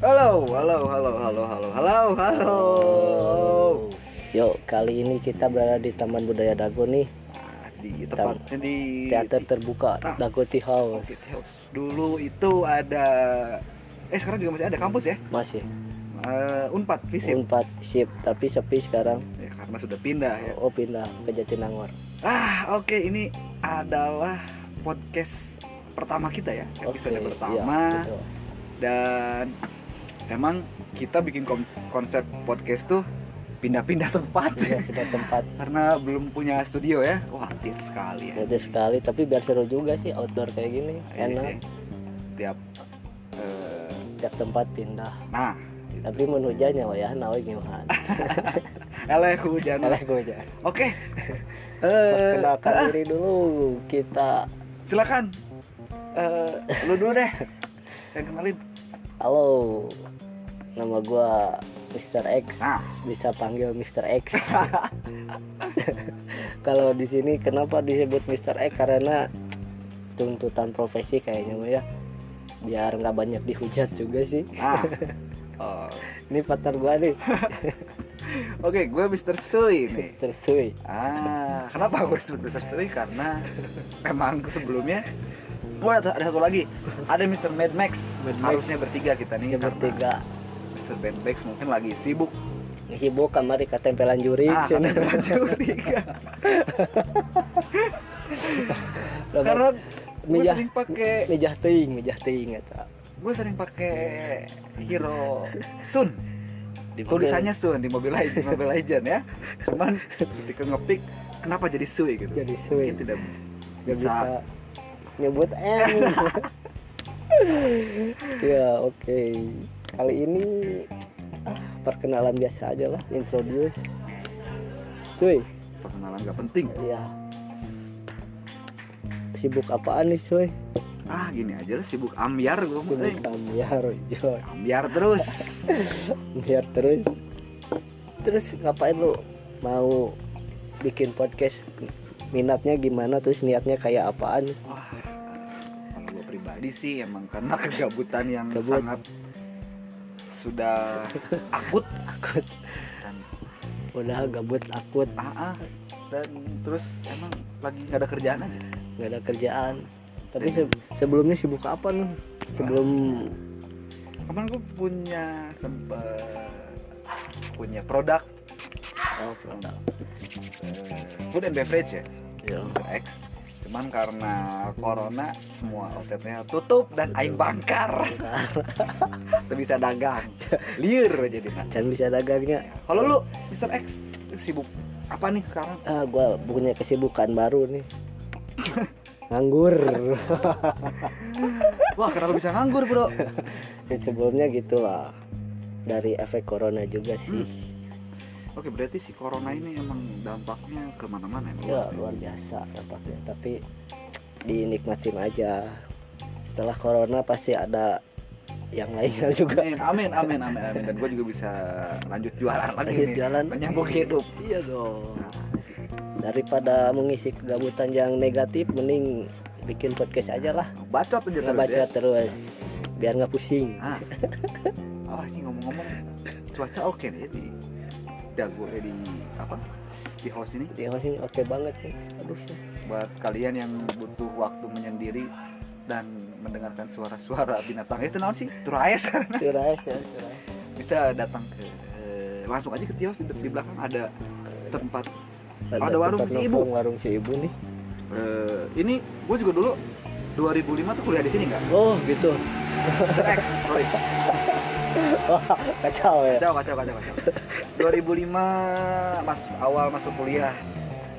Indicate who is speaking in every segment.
Speaker 1: Halo, halo, halo, halo, halo, halo, halo.
Speaker 2: Yuk, kali ini kita berada di Taman Budaya Dago nih,
Speaker 1: Nah, di tempatnya di
Speaker 2: teater terbuka Dago
Speaker 1: Orchid
Speaker 2: Tea House.
Speaker 1: House. Dulu itu ada eh sekarang juga masih ada kampus ya.
Speaker 2: Masih
Speaker 1: Eh, Unpad Visip.
Speaker 2: empat sip, tapi sepi sekarang.
Speaker 1: Ya, karena sudah pindah ya.
Speaker 2: Oh, pindah ke Jatinangor.
Speaker 1: Ah, oke ini adalah podcast pertama kita ya. Episode
Speaker 2: Oke,
Speaker 1: pertama.
Speaker 2: iya, betul.
Speaker 1: dan emang kita bikin kom- konsep podcast tuh pindah-pindah tempat
Speaker 2: Iya, pindah tempat.
Speaker 1: karena belum punya studio ya wah tir sekali ya
Speaker 2: Bodoh sekali, tapi biar seru juga sih outdoor kayak gini.
Speaker 1: Iya sih.
Speaker 2: Enak,
Speaker 1: tiap eh,
Speaker 2: tiap tempat pindah.
Speaker 1: nah
Speaker 2: Tapi mun hujannya wayah nawe gimana?
Speaker 1: eleh hujan
Speaker 2: Eleh gue aja.
Speaker 1: oke Eh,
Speaker 2: Perkenalkan diri dulu kita.
Speaker 1: silakan Eh, lu dulu deh yang kenalin
Speaker 2: Halo. Nama gua Mr. X.
Speaker 1: Nah.
Speaker 2: Bisa panggil Mr. X. Kalau di sini kenapa disebut Mr. X karena tuntutan profesi kayaknya mah ya. Biar nggak banyak dihujat juga sih.
Speaker 1: nah Oh.
Speaker 2: Ini partner gua nih,
Speaker 1: oke gue Mr. Sui nih
Speaker 2: Mr. Sui.
Speaker 1: Ah, kenapa gue disebut Mr. Tui? Karena memang sebelumnya gue ada, ada satu lagi, ada Mr. Mad Max.
Speaker 2: Mad Max.
Speaker 1: Harusnya bertiga kita nih.
Speaker 2: Ini
Speaker 1: karena
Speaker 2: bertiga.
Speaker 1: Mr. Mad Max mungkin lagi sibuk.
Speaker 2: Hibuk kamari ketempelan juri.
Speaker 1: Ah,
Speaker 2: cenah.
Speaker 1: katanya curiga. Karena gue
Speaker 2: Mijah.
Speaker 1: sering pakai
Speaker 2: Mijah teuing, mijah ya, teuing eta.
Speaker 1: gue sering pakai Hero Sun.
Speaker 2: Di mobil.
Speaker 1: Tulisannya Sun di Mobile Legends, Mobile Legends ya. Cuman ketika ngepick kenapa jadi Sui gitu.
Speaker 2: Jadi Sui.
Speaker 1: Mungkin tidak
Speaker 2: Gak
Speaker 1: bisa.
Speaker 2: bisa nyebut M. ya oke. Kali ini ah, perkenalan biasa aja lah, introduce. Sui,
Speaker 1: Perkenalan gak penting.
Speaker 2: ya. Sibuk apaan nih Sui?
Speaker 1: Ah, gini aja lah sibuk ambiar gue.
Speaker 2: Sibuk ambiar, ya, Joy.
Speaker 1: ambiar terus
Speaker 2: Ambiar terus. Terus ngapain lu? Mau bikin podcast? Minatnya gimana? Terus niatnya kayak apaan?
Speaker 1: wah kalau gue pribadi sih emang karena kegabutan yang
Speaker 2: Gabut.
Speaker 1: sangat sudah akut
Speaker 2: Akut.
Speaker 1: dan
Speaker 2: Udah gabut akut.
Speaker 1: ah, ah, dan terus emang lagi nggak ada kerjaan aja
Speaker 2: nggak ada kerjaan tapi se- sebelumnya sibuk apa lu sebelum
Speaker 1: kemarin gue punya sempet punya produk
Speaker 2: oh, produk.
Speaker 1: eh, food and beverage ya
Speaker 2: ya
Speaker 1: Mr. X cuman karena corona semua outletnya tutup dan aing bangkar Tidak bisa dagang liur jadi nah.
Speaker 2: Can bisa ya? dagangnya
Speaker 1: Kalau lu Mr. X sibuk apa nih sekarang?
Speaker 2: ah gua punya kesibukan baru nih nganggur
Speaker 1: Wah, kenapa bisa nganggur, Bro?
Speaker 2: Ya, sebelumnya gitulah dari efek corona juga sih
Speaker 1: Oke, berarti si corona ini emang dampaknya kemana-mana Hmm. ya?
Speaker 2: ya luar biasa dampaknya tapi dinikmatin aja setelah corona pasti ada yang lainnya juga
Speaker 1: Amin, amin, amin, amin, amin. Dan gue juga bisa lanjut jualan lagi
Speaker 2: Lanjut
Speaker 1: nih.
Speaker 2: jualan.
Speaker 1: Menyambung hidup. Nah,
Speaker 2: Iya dong. Daripada mengisi kegabutan yang negatif, mending bikin podcast aja lah.
Speaker 1: Bacot aja
Speaker 2: Nggak
Speaker 1: terus
Speaker 2: baca
Speaker 1: ya.
Speaker 2: terus, biar nggak pusing.
Speaker 1: Ah. Awas Ah, sih ngomong-ngomong, cuaca oke nih ya di dagu eh, di apa? Di house ini
Speaker 2: Di housing oke banget nih. Aduh,
Speaker 1: buat kalian yang butuh waktu menyendiri dan mendengarkan suara-suara binatang itu naon sih? Turaes.
Speaker 2: curais ya. curais.
Speaker 1: bisa datang ke eh, langsung aja ke kios di, di belakang ada tempat Ada warung
Speaker 2: tempat
Speaker 1: si ibu.
Speaker 2: nongkrong, warung si ibu nih.
Speaker 1: Eh, ini gue juga dulu 2005 tuh kuliah di sini nggak
Speaker 2: Oh gitu.
Speaker 1: Mr. X sorry
Speaker 2: Wah kacau ya.
Speaker 1: kacau kacau kacau kacau 2005 mas awal masuk kuliah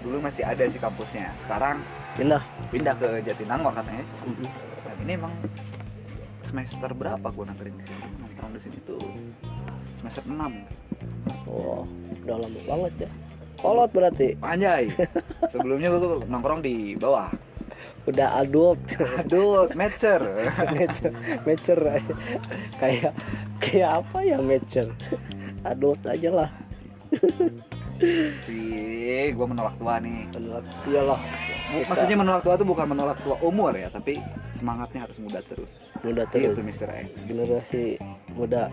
Speaker 1: dulu masih ada sih kampusnya sekarang
Speaker 2: Pindah.
Speaker 1: pindah ke Jatinangor katanya
Speaker 2: Mhm.
Speaker 1: Nah, ini emang semester berapa gue nangkring di sini nongkrong di sini tuh semester 6
Speaker 2: Wah udah lama banget ya. Kolot berarti.
Speaker 1: anjay sebelumnya gue nongkrong di bawah
Speaker 2: Udah adult.
Speaker 1: adult matcher
Speaker 2: mature, mature aja. Kayak kayak apa ya mature? Adult aja lah.
Speaker 1: Ih, gue menolak tua nih.
Speaker 2: Menolak iyalah Kita-
Speaker 1: Maksudnya menolak tua itu bukan menolak tua umur ya, tapi semangatnya harus muda terus.
Speaker 2: muda
Speaker 1: Itu
Speaker 2: terus
Speaker 1: Mr. X.
Speaker 2: generasi muda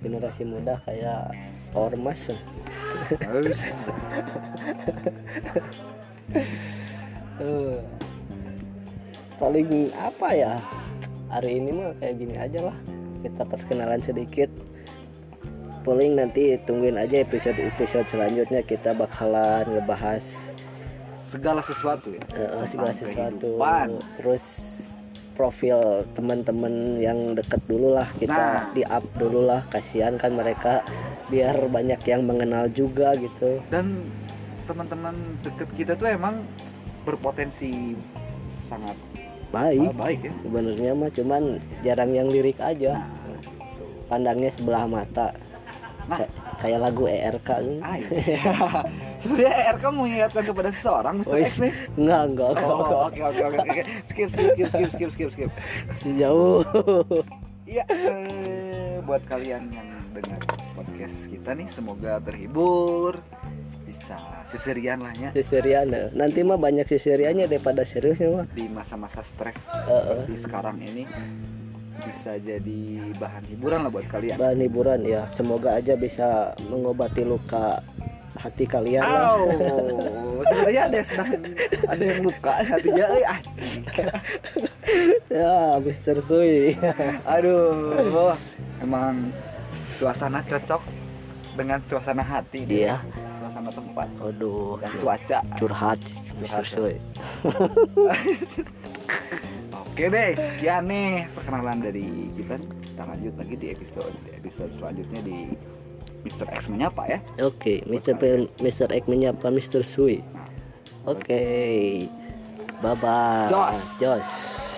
Speaker 2: generasi muda kayak ormas ya.
Speaker 1: Terus,
Speaker 2: Eh, paling apa ya hari ini mah kayak gini aja lah kita perkenalan sedikit paling nanti tungguin aja episode episode selanjutnya kita bakalan ngebahas
Speaker 1: segala sesuatu ya.
Speaker 2: eh, segala
Speaker 1: Tentang
Speaker 2: sesuatu
Speaker 1: kehidupan.
Speaker 2: terus profil teman-teman yang deket dulu lah
Speaker 1: Nah.
Speaker 2: kita di up dulu lah kasihan kan mereka biar banyak yang mengenal juga gitu
Speaker 1: Dan teman-teman deket kita tuh emang berpotensi sangat
Speaker 2: baik
Speaker 1: baik ya.
Speaker 2: sebenarnya mah cuman jarang yang lirik
Speaker 1: Nah,
Speaker 2: aja
Speaker 1: gitu.
Speaker 2: pandangnya sebelah mata
Speaker 1: Nah.
Speaker 2: Kay- kayak lagu ERK gitu.
Speaker 1: Ah, iya. Sebenarnya RK mau mengingatkan kepada seorang Mr. X nih.
Speaker 2: enggak enggak enggak, enggak.
Speaker 1: Oh, oke oke oke oke. Skip skip skip skip skip skip skip.
Speaker 2: jauh
Speaker 1: Iya, se- buat kalian yang dengar podcast kita nih semoga terhibur. Bisa seserian lah ya
Speaker 2: sisirian eh. nanti mah banyak sisiriannya daripada seriusnya mah
Speaker 1: di masa-masa stres
Speaker 2: Heeh.
Speaker 1: di sekarang ini bisa jadi bahan hiburan lah buat kalian.
Speaker 2: bahan hiburan ya semoga aja bisa mengobati luka hati kalian lah.
Speaker 1: Au, sebenarnya ada yang sedang ada yang luka hatinya, eh, anjing.
Speaker 2: ya habis tersui
Speaker 1: Aduh, emang suasana cocok dengan suasana hati,
Speaker 2: iya
Speaker 1: suasana tempat,
Speaker 2: aduh
Speaker 1: dan cuaca.
Speaker 2: curhat habis tersui
Speaker 1: Oke deh, sekian nih perkenalan dari kita. Kita lanjut lagi di episode episode selanjutnya di Mr. X menyapa ya.
Speaker 2: oke Mr. P- Mr. X menyapa Mr. Sui oke bye bye
Speaker 1: Jos.
Speaker 2: Jos